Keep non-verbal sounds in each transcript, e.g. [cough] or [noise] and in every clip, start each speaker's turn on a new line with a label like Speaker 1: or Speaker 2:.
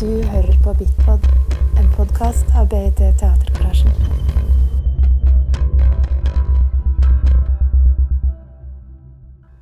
Speaker 1: Du hører på Bitpod, en podkast av BIT Teatergarasjen.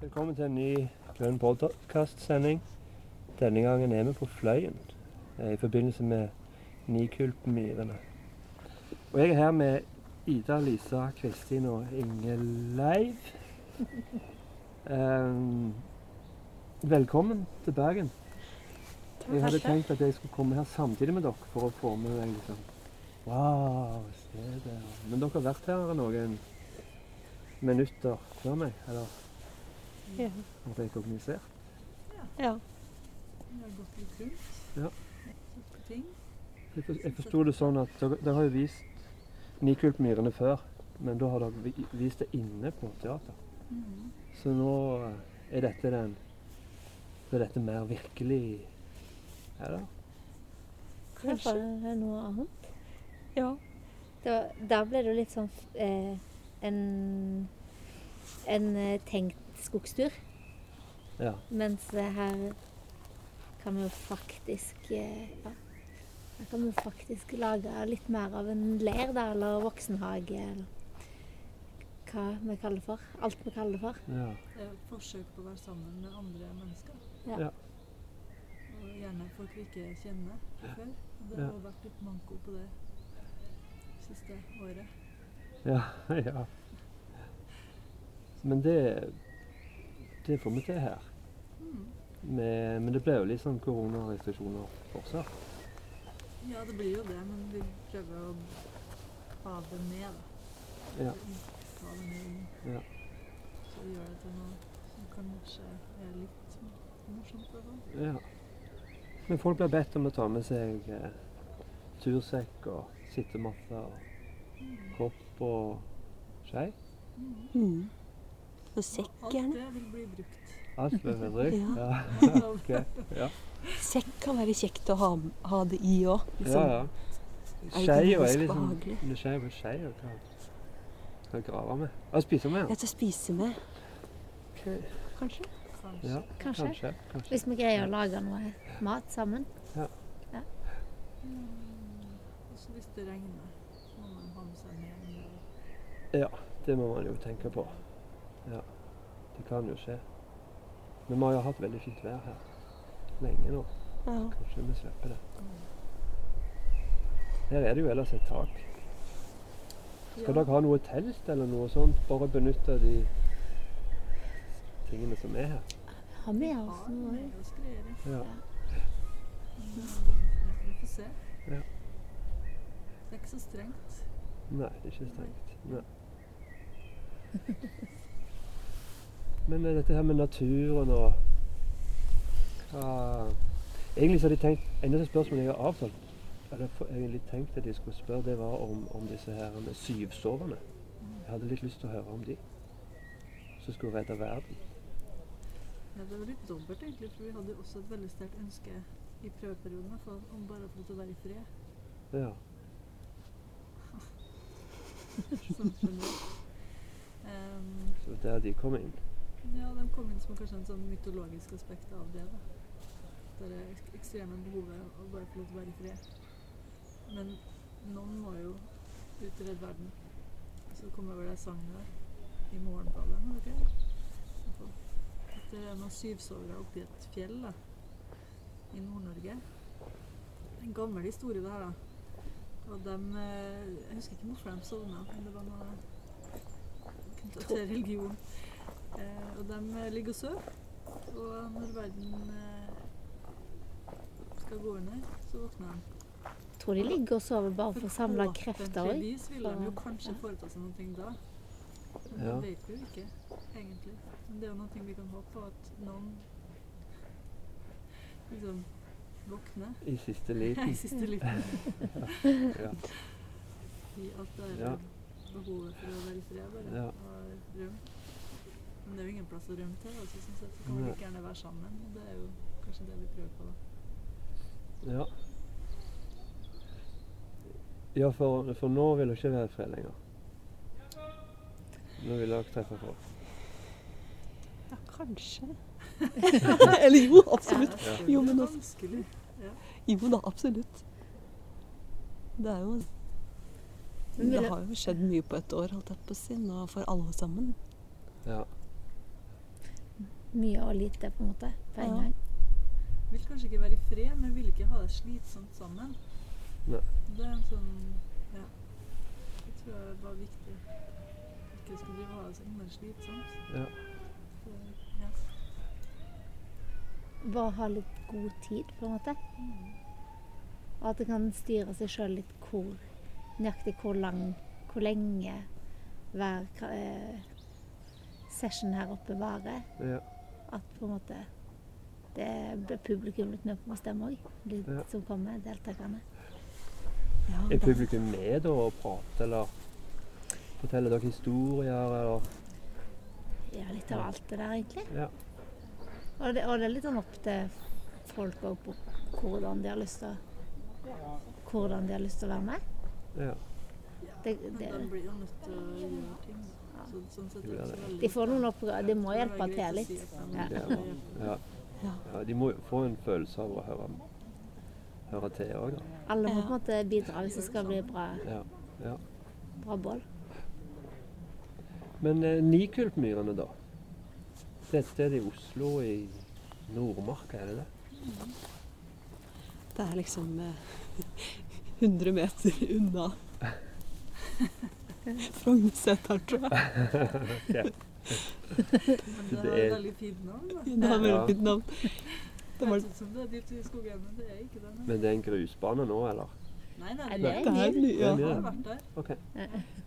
Speaker 2: Velkommen til en ny grønn podcast-sending. Denne gangen er vi på Fløyen eh, i forbindelse med Nikulpmyrene. Og jeg er her med Ida, Lisa, Kristin og Inge Leiv. Ehm, velkommen til Bergen. Jeg hadde tenkt at jeg skulle komme her samtidig med dere for å få med deg liksom Wow, se der. Men dere har vært her noen minutter før meg, eller?
Speaker 3: Ja.
Speaker 2: Har dere organisert?
Speaker 3: Ja.
Speaker 4: Vi har gått litt rundt.
Speaker 2: Ja.
Speaker 4: Sett på ting.
Speaker 2: Jeg for- jeg forsto det sånn at dere, dere har jo vist Nikulpmyrene før, men da har dere vi- vist det inne på teater.
Speaker 4: Mhm.
Speaker 2: Så nå eh, er dette den Så er dette mer virkelig Er det?
Speaker 3: Kanskje
Speaker 5: Kanskje det er noe annet.
Speaker 3: Ja.
Speaker 5: Det var, da ble det jo litt sånn eh, en, en eh, tenkt skogstur.
Speaker 2: Ja.
Speaker 5: Mens eh, her kan vi jo faktisk eh, ja, Her kan vi jo faktisk lage litt mer av en leir, da, eller voksenhage, eller hva vi kaller det for. Alt vi kaller det for.
Speaker 2: ja. [laughs]
Speaker 4: Det er et forsøk på å være sammen med andre mennesker.
Speaker 5: Ja.
Speaker 2: Ja.
Speaker 4: Og gjerne folk vi ikke kjenner før. Og det
Speaker 2: Ja.
Speaker 4: har vært litt manko på det siste året.
Speaker 2: ja. Men det Det får vi til her.
Speaker 4: Mhm.
Speaker 2: Med, men det ble jo litt sånn koronarestriksjoner fortsatt.
Speaker 4: Ja, det blir jo det, men vi prøver å ha det ned, da.
Speaker 2: Ja.
Speaker 4: Ta det ned inn.
Speaker 2: Ja.
Speaker 4: Så vi gjør det til noe som kanskje er litt morsomt. og sånn.
Speaker 2: Ja. Men folk blir bedt om å ta med seg eh, tursekk og sittematte og
Speaker 4: Mhm.
Speaker 2: kopp og skei.
Speaker 4: Mhm.
Speaker 3: Og Mm. sekk,
Speaker 4: Alt
Speaker 3: gjerne.
Speaker 4: det vil bli brukt.
Speaker 2: Alt ble bedrøyt.
Speaker 3: [laughs] Ja.
Speaker 2: Ja.
Speaker 4: Av
Speaker 2: ok. Ja,
Speaker 3: Sekk kan være kjekt å ha, ha det i òg.
Speaker 2: ja.
Speaker 3: Liksom.
Speaker 2: ja.
Speaker 3: det
Speaker 2: Skei og
Speaker 3: ganske
Speaker 2: er liksom
Speaker 3: behagelig?
Speaker 2: Skei og skei og hva skal jeg grave med? Ja, spise med?
Speaker 3: Jeg skal spise med,
Speaker 2: Okay.
Speaker 3: kanskje.
Speaker 4: Kanskje.
Speaker 2: Ja,
Speaker 5: Kanskje.
Speaker 2: kanskje. kanskje.
Speaker 5: Hvis vi greier å lage noe mat sammen.
Speaker 4: Mm. Og så hvis det regner, så må man ha med seg med en del.
Speaker 2: Det må man jo tenke på. Ja. Det kan jo skje. Men vi har jo hatt veldig fint vær her lenge nå.
Speaker 3: Ja.
Speaker 2: Kanskje vi slipper det.
Speaker 3: Mm.
Speaker 2: Her er det jo ellers et tak. Skal
Speaker 4: Ja.
Speaker 2: dere ha noe telt eller noe sånt? Bare benytte de tingene som er her.
Speaker 5: Har vi
Speaker 4: Ja,
Speaker 5: oss noe?
Speaker 4: med oss greier.
Speaker 2: Ja.
Speaker 4: Ja, vi får se.
Speaker 2: Ja.
Speaker 4: Det er ikke så strengt.
Speaker 2: Nei, det er ikke strengt. Nei. Men eh, dette her med naturen og hva Egentlig så hadde jeg tenkt Eneste spørsmålet jeg har avtalt, eller for- egentlig tenkt at jeg skulle spørre, det var om, om disse her med syvsoverne. Jeg hadde litt lyst til å høre om de som skulle redde verden.
Speaker 4: Ja, det var litt dobbelt, egentlig, for vi hadde jo også et veldig sterkt ønske i prøveperioden for, om bare å få lov til å være i fred.
Speaker 2: Ja.
Speaker 4: Sånn generelt.
Speaker 2: [laughs]
Speaker 4: Ehm,
Speaker 2: Så der de kom inn.
Speaker 4: Ja, de kom inn som kanskje en sånn mytologisk aspekt av det. da. Det er ek- ekstreme behovet å bare få lov til å være i fred. Men noen må jo ut og redde verden. Så kommer vel det sangen der i Morgenbladet. var det ikke det? I hvert fall. At det er noen syvsovere oppi et fjell da, i Nord-Norge. En gammel historie, det her. da. Og dem, eh, Jeg husker ikke hvorfor de sovna, men det var noe knyttet til religion. Eh, og de ligger og sover. Og når verden eh, skal gå under, så våkner de.
Speaker 5: Tror de ligger og sover bare for å samle krefter òg.
Speaker 4: Forhåpentligvis vil de jo
Speaker 5: for-
Speaker 4: kanskje
Speaker 5: ja.
Speaker 4: foreta seg noe da. Men
Speaker 2: Ja.
Speaker 4: det vet vi jo ikke, egentlig. Men det er jo noe vi kan håpe på, at noen liksom våkner
Speaker 2: I siste
Speaker 4: i [laughs]
Speaker 2: liten. [laughs]
Speaker 4: siste liten.
Speaker 2: Ja.
Speaker 4: I alt det der
Speaker 2: Ja.
Speaker 4: behovet for å være i fred, bare.
Speaker 2: Ja.
Speaker 4: Og rømme. Men det er jo ingen plass å rømme til, altså, sånn sett så kan vi
Speaker 2: Nei.
Speaker 4: like gjerne være sammen. Og det er jo kanskje det vi prøver på, da.
Speaker 2: Ja. Ja, for, for nå vil det ikke være fred lenger. Nå vil dere treffe folk.
Speaker 3: ja, kanskje. [laughs] Eller jo, absolutt.
Speaker 4: Ja,
Speaker 3: Jo,
Speaker 4: det er
Speaker 3: men altså-
Speaker 4: vanskelig.
Speaker 3: Jo da, absolutt. Det er jo
Speaker 5: Men vil
Speaker 3: Det
Speaker 5: det-
Speaker 3: har jo skjedd mye på et år, holdt jeg på å si, nå for alle sammen.
Speaker 2: Ja.
Speaker 5: Mye og lite, på en måte. På en
Speaker 3: Ja.
Speaker 5: gang.
Speaker 4: Vil kanskje ikke være i fred, men vil ikke ha det slitsomt sammen.
Speaker 2: Nei.
Speaker 4: Det er en sånn Ja. Det tror jeg var viktig. Ikke skulle drive og ha det så innmari slitsomt.
Speaker 2: Ja.
Speaker 4: Det- Ja.
Speaker 5: Bare ha litt god tid, på en måte. Og at det kan styre seg sjøl litt hvor nøyaktig hvor lang, hvor lenge hver ka- eh, session her oppe varer.
Speaker 2: ja.
Speaker 5: At på en måte det blir publikum litt med på å bestemme òg. De
Speaker 2: Ja.
Speaker 5: som kommer, deltakerne.
Speaker 3: Ja,
Speaker 2: Er
Speaker 3: det,
Speaker 2: publikum med da og prater, eller forteller dere historier, eller
Speaker 5: Ja, litt av alt det der, egentlig.
Speaker 2: Ja.
Speaker 5: Og, det, og det er litt sånn opp til folk òg på hvordan de har lyst til å hvordan de har lyst til å være med.
Speaker 2: Ja.
Speaker 5: Det,
Speaker 4: Men
Speaker 5: det,
Speaker 4: de blir jo nødt til å gjøre ting.
Speaker 5: Ja.
Speaker 4: Så, sånn sett er
Speaker 2: Ja,
Speaker 4: det ikke
Speaker 2: det-
Speaker 4: så veldig
Speaker 5: De får noen oppgaver. De må
Speaker 4: Det er
Speaker 5: hjelpe
Speaker 4: greit
Speaker 5: til
Speaker 4: å si
Speaker 5: litt.
Speaker 4: at de-
Speaker 5: Ja.
Speaker 2: Ja. Ja.
Speaker 3: Ja.
Speaker 2: ja. De må jo få en følelse av å høre, høre til òg, da.
Speaker 5: Alle må
Speaker 3: Ja.
Speaker 5: på en måte bidra hvis det skal bli bra,
Speaker 2: Ja. ja.
Speaker 5: bra boll.
Speaker 2: Men eh, Nikultmyrene, da? Det er et sted i Oslo, i Nordmarka, er det det?
Speaker 3: det er liksom eh, [laughs] 100 meter [laughs] unna Frognerseteren, tror jeg.
Speaker 4: Men
Speaker 2: Det
Speaker 4: det er et
Speaker 2: er-
Speaker 4: veldig fint navn. da.
Speaker 3: Det var veldig
Speaker 2: Ja.
Speaker 3: fint navn.
Speaker 4: Det
Speaker 3: Det var
Speaker 4: høres ut som det er dypt i skogen, men det er ikke det. nei.
Speaker 2: Men det er en grusbane nå, eller?
Speaker 4: Nei, nei,
Speaker 5: Er
Speaker 4: det
Speaker 5: det?
Speaker 4: er
Speaker 3: det er, ny- ja.
Speaker 4: Jeg har vært der.
Speaker 2: OK.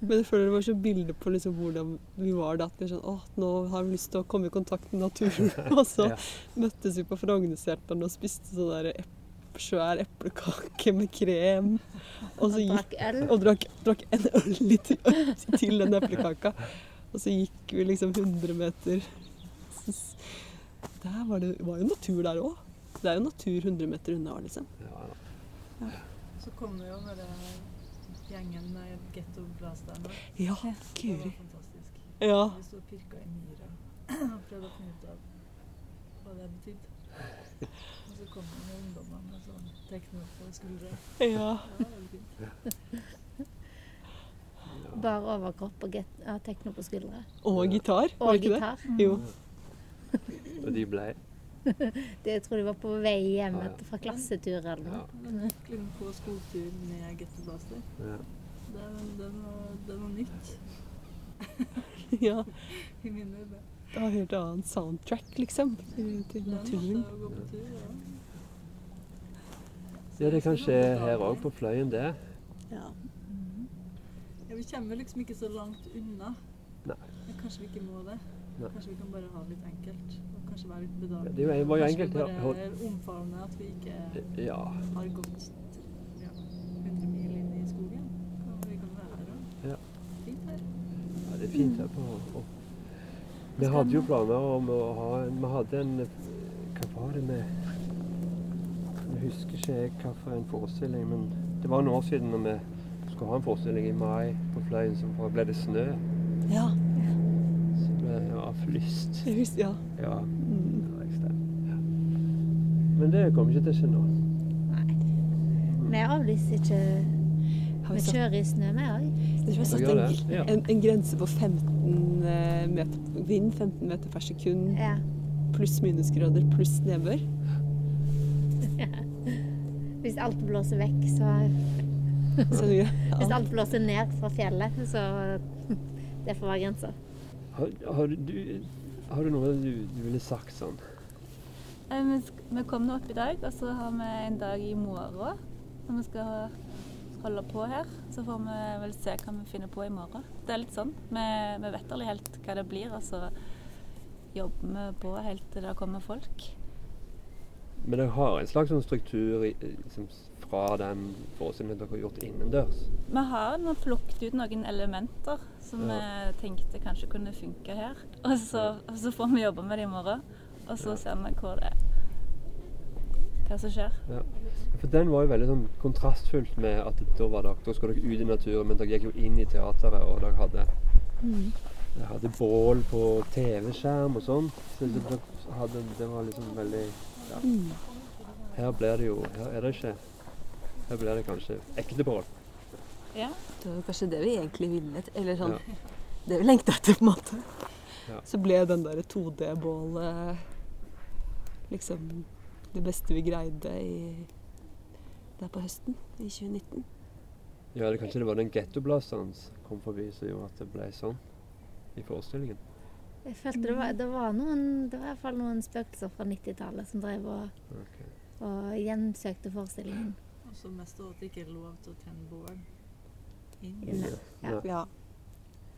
Speaker 3: Men jeg føler det var så bilder på liksom hvordan vi var da. At vi er sånn, åh, nå har vi lyst til å komme i kontakt med naturen.
Speaker 2: [laughs]
Speaker 3: Og så
Speaker 2: Ja.
Speaker 3: møttes vi på Frognerseteren og spiste sånn der ep- svær eplekake med krem. Og så
Speaker 5: Og
Speaker 3: gikk
Speaker 5: drakk øl.
Speaker 3: og drakk, drakk en ørliten øl [laughs] til den eplekaka. Og så gikk vi liksom 100 meter. Så- Der var det var jo natur der òg. Det er jo natur 100 meter unna, liksom.
Speaker 2: Ja, da.
Speaker 4: Så kom det jo med det gjengen med Getto Blaster.
Speaker 3: Ja,
Speaker 4: Det var
Speaker 3: guri.
Speaker 4: fantastisk.
Speaker 3: Ja.
Speaker 4: Vi sto og pirka i myra [clears throat] og prøvde å finne ut av hva det betydde. Og så kom det noen ungdommer med sånn tekno på skuldra.
Speaker 3: ja.
Speaker 4: Ja, det var veldig fint.
Speaker 5: Bar overkropp og get, ja, tekno på skuldre.
Speaker 3: Og gitar, var
Speaker 5: Og
Speaker 3: det ikke det?
Speaker 5: gitar.
Speaker 3: Jo.
Speaker 2: Og de ble
Speaker 5: Det, jeg tror de var på vei hjem
Speaker 2: Ja, ja.
Speaker 5: etter- fra klassetur eller
Speaker 2: ja.
Speaker 5: noe.
Speaker 4: Men Liksom på skogtur med Getto Blaster.
Speaker 2: ja.
Speaker 4: Det, det, var, det var nytt
Speaker 3: Ja.
Speaker 4: i mine øyne.
Speaker 3: Det var helt annen soundtrack, liksom, til til
Speaker 4: Det er en
Speaker 3: naturen.
Speaker 4: måte å gå på tur, ja.
Speaker 2: Ja, det kan skje her òg, på Fløyen, det.
Speaker 3: Ja.
Speaker 4: Ja, vi kommer liksom ikke så langt unna.
Speaker 2: Nei.
Speaker 4: Men kanskje vi ikke må det.
Speaker 2: Nei.
Speaker 4: Kanskje vi kan bare ha det litt enkelt. Og kanskje være litt
Speaker 2: Ja,
Speaker 4: bedagelig.
Speaker 2: det var- det var jo
Speaker 4: Kanskje
Speaker 2: enkelt,
Speaker 4: vi
Speaker 2: ja.
Speaker 4: bare omfavne at vi ikke
Speaker 2: Ja.
Speaker 4: har gått ja, 100 mil inn i skogen. Kan vi kan være her også.
Speaker 2: Ja.
Speaker 4: Fint her.
Speaker 2: ja det er fint her på og. Vi hadde jo planer om å ha en Vi hadde en Hva var det med Jeg husker ikke jeg hva for en forestilling, men det var noen år siden når vi skulle ha en forestilling i mai på Fløyen, så bare ble det snø.
Speaker 3: ja.
Speaker 2: Så ble det avlyst.
Speaker 3: Jeg husker, ja.
Speaker 2: Ja.
Speaker 3: Mm.
Speaker 2: det var ekstremt. Ja. Men det kommer ikke til å skje nå.
Speaker 5: Nei. Vi avlyser ikke
Speaker 3: Har vi
Speaker 5: Vi
Speaker 3: satt,
Speaker 5: kjører i snø, vi òg.
Speaker 3: jeg tror jeg har satt
Speaker 2: Gjør
Speaker 3: en,
Speaker 2: det, ja.
Speaker 3: gr- en, en grense på 15 eh, meter vind, 15 meter per sekund,
Speaker 5: Ja.
Speaker 3: pluss minusgrader, pluss nedbør.
Speaker 5: Hvis alt blåser vekk, så
Speaker 3: Så vi-
Speaker 5: Hvis
Speaker 3: ja.
Speaker 5: alt blåser ned fra fjellet, så Det får være grensa.
Speaker 2: Har, har, du, har du noe du, du ville sagt sånn?
Speaker 6: Eh, Vi, sk- vi kom nå opp i dag, og så har vi en dag i morgen når vi skal holde på her. Så får vi vel se hva vi finner på i morgen. Det er litt sånn. Vi, vi vet aldri helt hva det blir, og så jobber vi på helt til det kommer folk.
Speaker 2: Men dere har en slags sånn struktur i, liksom, fra den forestillingen dere har gjort innendørs.
Speaker 6: Vi har nå plukket ut noen elementer som
Speaker 2: Ja.
Speaker 6: vi tenkte kanskje kunne funke her. Og så, og så får vi jobbe med det i morgen, og så
Speaker 2: Ja.
Speaker 6: ser vi hvor det hva som skjer.
Speaker 2: For den var jo veldig sånn kontrastfullt med at da var dere, da skulle dere ut i naturen, men dere gikk jo inn i teateret, og dere hadde Jeg hadde bål på TV-skjerm og sånn. Så det, ble- hadde, det var liksom veldig ja. Her blir det jo Her er det ikke Her blir det kanskje ekte bål.
Speaker 6: Ja.
Speaker 3: Det var kanskje det vi egentlig ville. Eller sånn
Speaker 2: Ja.
Speaker 3: Det vi lengta etter, på en måte.
Speaker 2: Ja.
Speaker 3: Så ble den der 2D-bålet liksom det beste vi greide i, der på høsten i 2019.
Speaker 2: Ja, eller kanskje det var den gettoblasteren som kom forbi som gjorde at det ble sånn i forestillingen.
Speaker 5: Jeg følte det var, det var noen Det var i hvert fall noen spøkelser fra 90-tallet som drev og,
Speaker 2: Ok.
Speaker 5: og gjensøkte forestillingen.
Speaker 4: Og så mest av at det ikke er lov til å tenne bål inn.
Speaker 5: Inne. Ja.
Speaker 3: Ja.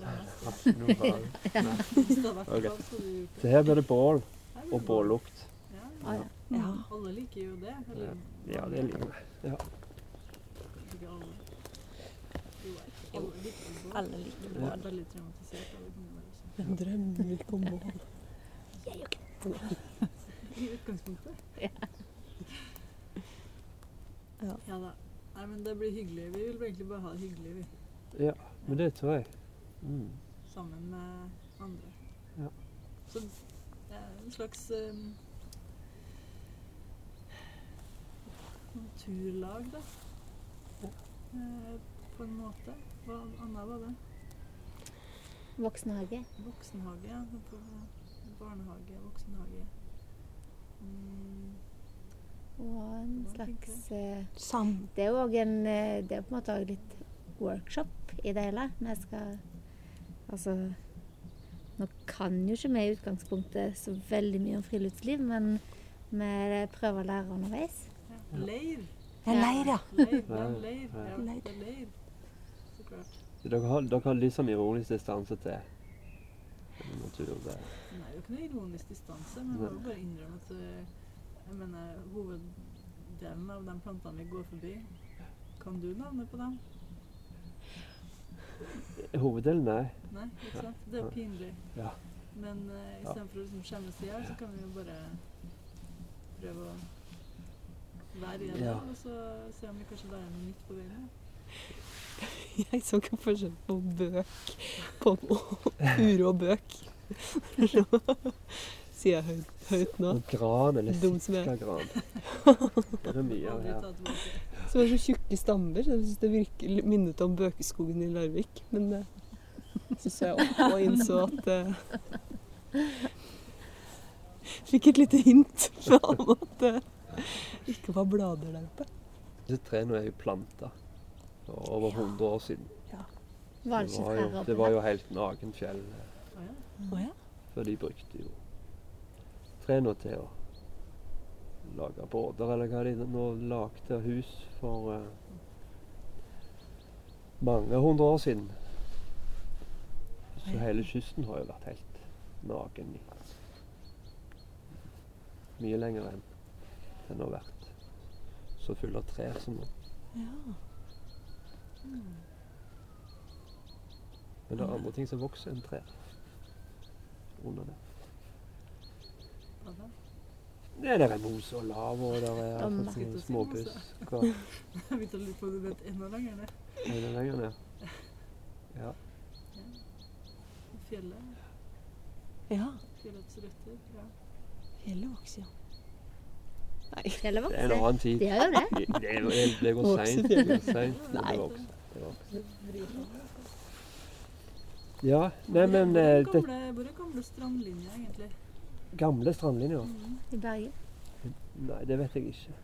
Speaker 4: Det er mest-
Speaker 2: Nå var det-
Speaker 4: Hvis det hadde vært
Speaker 2: Ok.
Speaker 4: lov, så hadde vi gjort
Speaker 2: Så
Speaker 4: det.
Speaker 2: her blir det bål
Speaker 4: Her er
Speaker 2: og
Speaker 4: det bål.
Speaker 2: bållukt.
Speaker 4: Ja,
Speaker 5: Å, ja.
Speaker 3: ja.
Speaker 4: alle liker jo det. Eller
Speaker 2: Ja, det liker jeg.
Speaker 4: ikke alle. Jo,
Speaker 6: Jo.
Speaker 4: alle liker bål.
Speaker 6: Alle liker
Speaker 4: Det
Speaker 6: bål.
Speaker 4: var veldig traumatisert av hundeværet.
Speaker 3: Hvem drømmer ikke om bål?
Speaker 4: I utgangspunktet.
Speaker 3: Ja.
Speaker 4: Ja da. Nei, men det blir hyggelig. Vi vil egentlig bare ha det hyggelig, vi.
Speaker 2: Men det tror jeg. Mm.
Speaker 4: Sammen med andre.
Speaker 2: Ja.
Speaker 4: Så det er en slags um, naturlag, da. Eh, på en måte. Hva annet var det?
Speaker 5: Voksen hage.
Speaker 4: Voksenhage, ja. På- Barnehage, voksenhage. Mm,
Speaker 5: Og en slags eh,
Speaker 3: Sam.
Speaker 5: Det er jo òg en eh, Det er på en måte også litt workshop i det hele. Vi skal Altså Nå kan jo ikke vi i utgangspunktet så veldig mye om friluftsliv, men vi prøver å lære underveis.
Speaker 4: ja. Leir.
Speaker 3: Jeg er leir, ja.
Speaker 4: Leir. Det er leir.
Speaker 2: Ja, ja.
Speaker 4: Ja, det er leir. Så klart.
Speaker 2: Dere har, dere har litt sånn ironisk distanse til natur. Det.
Speaker 4: Den er jo ikke noe ironisk distanse, men jeg må jo bare innrømme at eh, jeg mener, hoveddelen av de plantene vi går forbi Kan du navnet på dem?
Speaker 2: Hoveddelen, nei.
Speaker 4: Nei, ikke sant? Det er jo pinlig.
Speaker 2: Ja.
Speaker 4: Men uh,
Speaker 2: Ja.
Speaker 4: istedenfor å liksom skjemmes i hjel, så kan vi jo bare prøve å være i det,
Speaker 2: Ja.
Speaker 4: og så se om vi kanskje lærer noe nytt på veien.
Speaker 3: [laughs] Jeg så ikke forskjell på bøk på [laughs] uro og bøk. Sier jeg høyt, høyt nå.
Speaker 2: Og gran, eller
Speaker 3: Dum som jeg er.
Speaker 2: sitkagran. Det er mye av
Speaker 4: Aldri
Speaker 2: det her.
Speaker 4: ta tilbake.
Speaker 3: Som er så tjukke stammer. så Jeg synes det virker, minnet om bøkeskogen i Larvik. Men eh, så så jeg opp og innså at eh, Fikk et lite hint fra ham at det ikke var blader der oppe.
Speaker 2: Disse trærne er jo planta for over 100 år siden.
Speaker 5: Var det
Speaker 2: Det
Speaker 5: ikke
Speaker 2: var
Speaker 5: trær
Speaker 2: jo,
Speaker 5: oppi
Speaker 2: det var
Speaker 5: der?
Speaker 2: jo helt nakenfjell.
Speaker 4: Å ja.
Speaker 3: Å ja.
Speaker 2: For de brukte jo trærne til å lage båter, eller hva de nå lagde av hus for eh, mange hundre år siden. Så hele kysten har jo vært helt naken i mye lenger enn den har vært så full av trær som nå.
Speaker 3: ja.
Speaker 2: Men det er andre ting som vokser enn trær under det.
Speaker 4: Hva da? [laughs]
Speaker 2: Nei, der er mos og lav, og der er
Speaker 5: Om-
Speaker 2: akkurat sånn småbuss. Hva?
Speaker 4: Jeg begynte å lure på om du vet enda lenger ned.
Speaker 2: Er det lenger ned? Ja.
Speaker 4: Fjellet.
Speaker 3: ja.
Speaker 4: Fjellets røtter. Ja.
Speaker 3: Fjellet vokser, ja.
Speaker 5: Fjellet
Speaker 2: Det er en
Speaker 5: vokser.
Speaker 2: annen tid.
Speaker 5: Det gjør jo det.
Speaker 2: Det, det, det går
Speaker 3: Vokser
Speaker 2: seint. Det
Speaker 3: fjellet.
Speaker 2: går seint.
Speaker 3: [laughs]
Speaker 2: men
Speaker 3: Nei.
Speaker 2: Det vokser. Det vokser. Ja. Nei, men eh,
Speaker 4: Hvor
Speaker 2: det
Speaker 4: er gamle, hvor er gamle strandlinja, egentlig?
Speaker 2: gamle strandlinja
Speaker 5: I Bergen.
Speaker 2: Nei, det vet jeg ikke.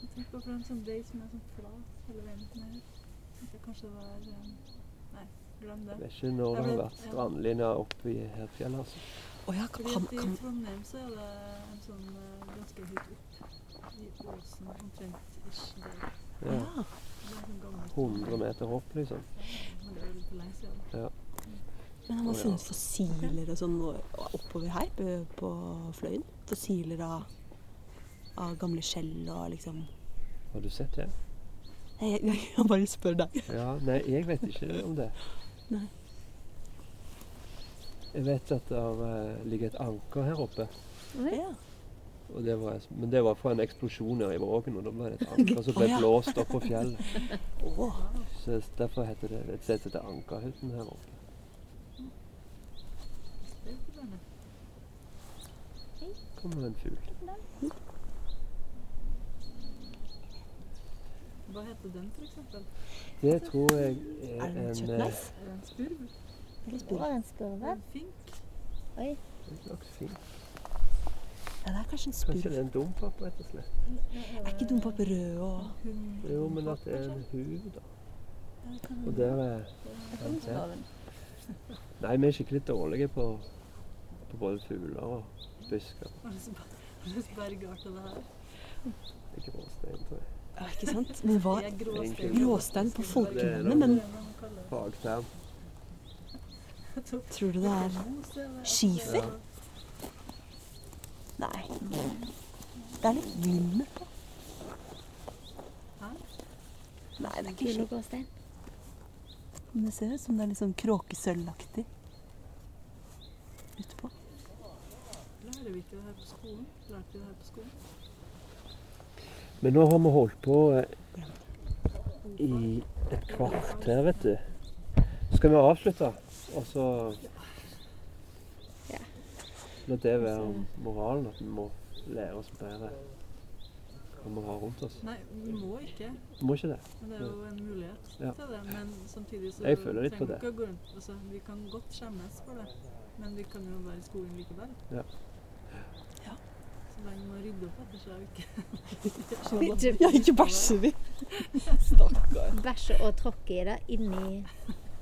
Speaker 4: Jeg tenker på en sånn date som er sånn flat hele veien ned. Tenkte jeg kanskje det var eh, Nei, glem det.
Speaker 2: Jeg vet ikke når det har vært strandlinje oppe i her fjellet. Altså.
Speaker 3: Å ja,
Speaker 4: Fordi
Speaker 3: kan,
Speaker 4: at I
Speaker 3: kan,
Speaker 4: Trondheim så er det en sånn eh, ganske høyt opp i Åsen, omtrent ish der. Det
Speaker 2: Ja.
Speaker 3: ja.
Speaker 4: er en sånn gammel
Speaker 2: 100 meter opp, liksom.
Speaker 4: Men det er jo litt for lenge siden.
Speaker 3: Men han har
Speaker 2: Å, ja.
Speaker 3: funnet fossiler og sånn og- oppover her på- på Fløyen. Fossiler av, av gamle skjell og liksom
Speaker 2: Har du sett det?
Speaker 3: Nei, jeg, jeg, jeg bare spør deg.
Speaker 2: Ja, Nei, jeg vet ikke om det.
Speaker 3: Nei.
Speaker 2: Jeg vet at det eh, ligger et anker her oppe.
Speaker 5: Oi.
Speaker 3: Ja.
Speaker 2: Og det var, men det var fra en eksplosjon nede i vågen, og da
Speaker 3: [laughs]
Speaker 2: ble det et anker som ble
Speaker 3: Å, ja.
Speaker 2: blåst opp på fjellet.
Speaker 3: Å,
Speaker 2: Så derfor heter det et sted som heter Ankerhytten her oppe. kommer det en fugl.
Speaker 4: Hva heter den, for eksempel?
Speaker 2: Det tror jeg er
Speaker 3: Er det en
Speaker 2: en eh,
Speaker 3: kjøttmeis?
Speaker 4: Er det en spurv?
Speaker 5: Å, en spurve.
Speaker 4: En fink?
Speaker 5: Oi.
Speaker 2: en slags fink.
Speaker 3: Ja, det er kanskje en
Speaker 2: Kanskje
Speaker 3: spurv.
Speaker 2: det er en dompap, rett og slett.
Speaker 3: Er ikke dompap rød og
Speaker 4: Hun
Speaker 2: Jo, men at det er en hue, da.
Speaker 6: Ja, det kan-
Speaker 2: Og der er
Speaker 6: det kan vi spørre om.
Speaker 2: Nei, vi er skikkelig dårlige på, på både fugler og busker.
Speaker 4: Hva slags bergart er det her?
Speaker 2: Ikke gråstein, tror jeg.
Speaker 3: ja, Ikke sant? [laughs] Men hva
Speaker 4: Det er gråstein.
Speaker 3: Gråstein på folkemunne, men
Speaker 2: Fagterm.
Speaker 3: tror du det er skifer? Nei. Det er litt glimmer på.
Speaker 4: Hæ?
Speaker 3: Nei, det er ikke
Speaker 5: Kul
Speaker 3: skifer.
Speaker 5: og gråstein.
Speaker 3: Men det ser ut som det er litt sånn kråkesølvaktig utpå.
Speaker 4: Lærer vi ikke det her på skolen? Lærte vi det her på skolen?
Speaker 2: Men nå har vi holdt på eh, i et kvarter, vet du. Skal vi avslutte, Altså, og så
Speaker 5: Ja.
Speaker 2: La det være moralen, at vi må lære oss bedre hva vi har rundt oss.
Speaker 4: Nei, vi må ikke.
Speaker 2: Vi må ikke det.
Speaker 4: Men det er jo en mulighet
Speaker 2: Ja.
Speaker 4: til det. Men samtidig så
Speaker 2: Jeg føler litt på
Speaker 4: trenger vi
Speaker 2: det.
Speaker 4: ikke å gå rundt altså, Vi kan godt skjemmes for det, men vi kan jo være i skogen likevel.
Speaker 2: Ja.
Speaker 3: Ja.
Speaker 4: Så lenge man rydder opp etter seg og ikke
Speaker 3: Ja, ikke bæsjer vi! [laughs] Stakkar.
Speaker 5: Bæsje og tråkke i det inni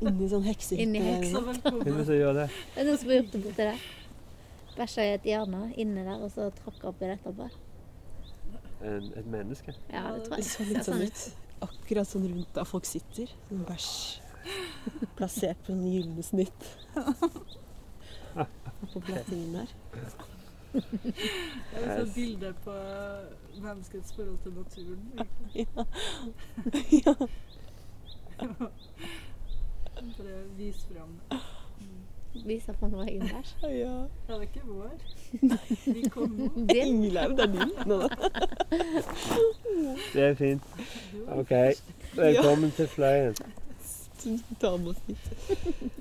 Speaker 3: Inni sånn heksehytte.
Speaker 5: Inni
Speaker 3: eller
Speaker 5: heksa.
Speaker 4: Så
Speaker 3: noe.
Speaker 2: Hvem er det
Speaker 4: velkommen.
Speaker 2: som gjør det?
Speaker 5: Det er noen som har gjort det borti der. Bæsja i et hjørne inne der, og så tråkka oppi det etterpå.
Speaker 2: En, et menneske?
Speaker 5: Ja, det tror
Speaker 3: Det
Speaker 5: jeg.
Speaker 3: så litt sånn ut. Akkurat sånn rundt der folk sitter. Sånn bæsj. [laughs] Plassert på en gylne snitt. På platinen her.
Speaker 4: Det er et bilde på menneskets forhold til naturen. egentlig.
Speaker 3: [laughs] Ja.
Speaker 4: For å vise fram
Speaker 5: Vise fram vår egen [laughs] bæsj.
Speaker 3: ja.
Speaker 4: Ja, det er ikke vår. Vi kom nå.
Speaker 5: Din.
Speaker 3: Ingelev, det er din. Nå, da.
Speaker 2: Det er fint.
Speaker 4: Jo.
Speaker 2: OK. Velkommen til Fløyen.
Speaker 3: Ta med oss dit.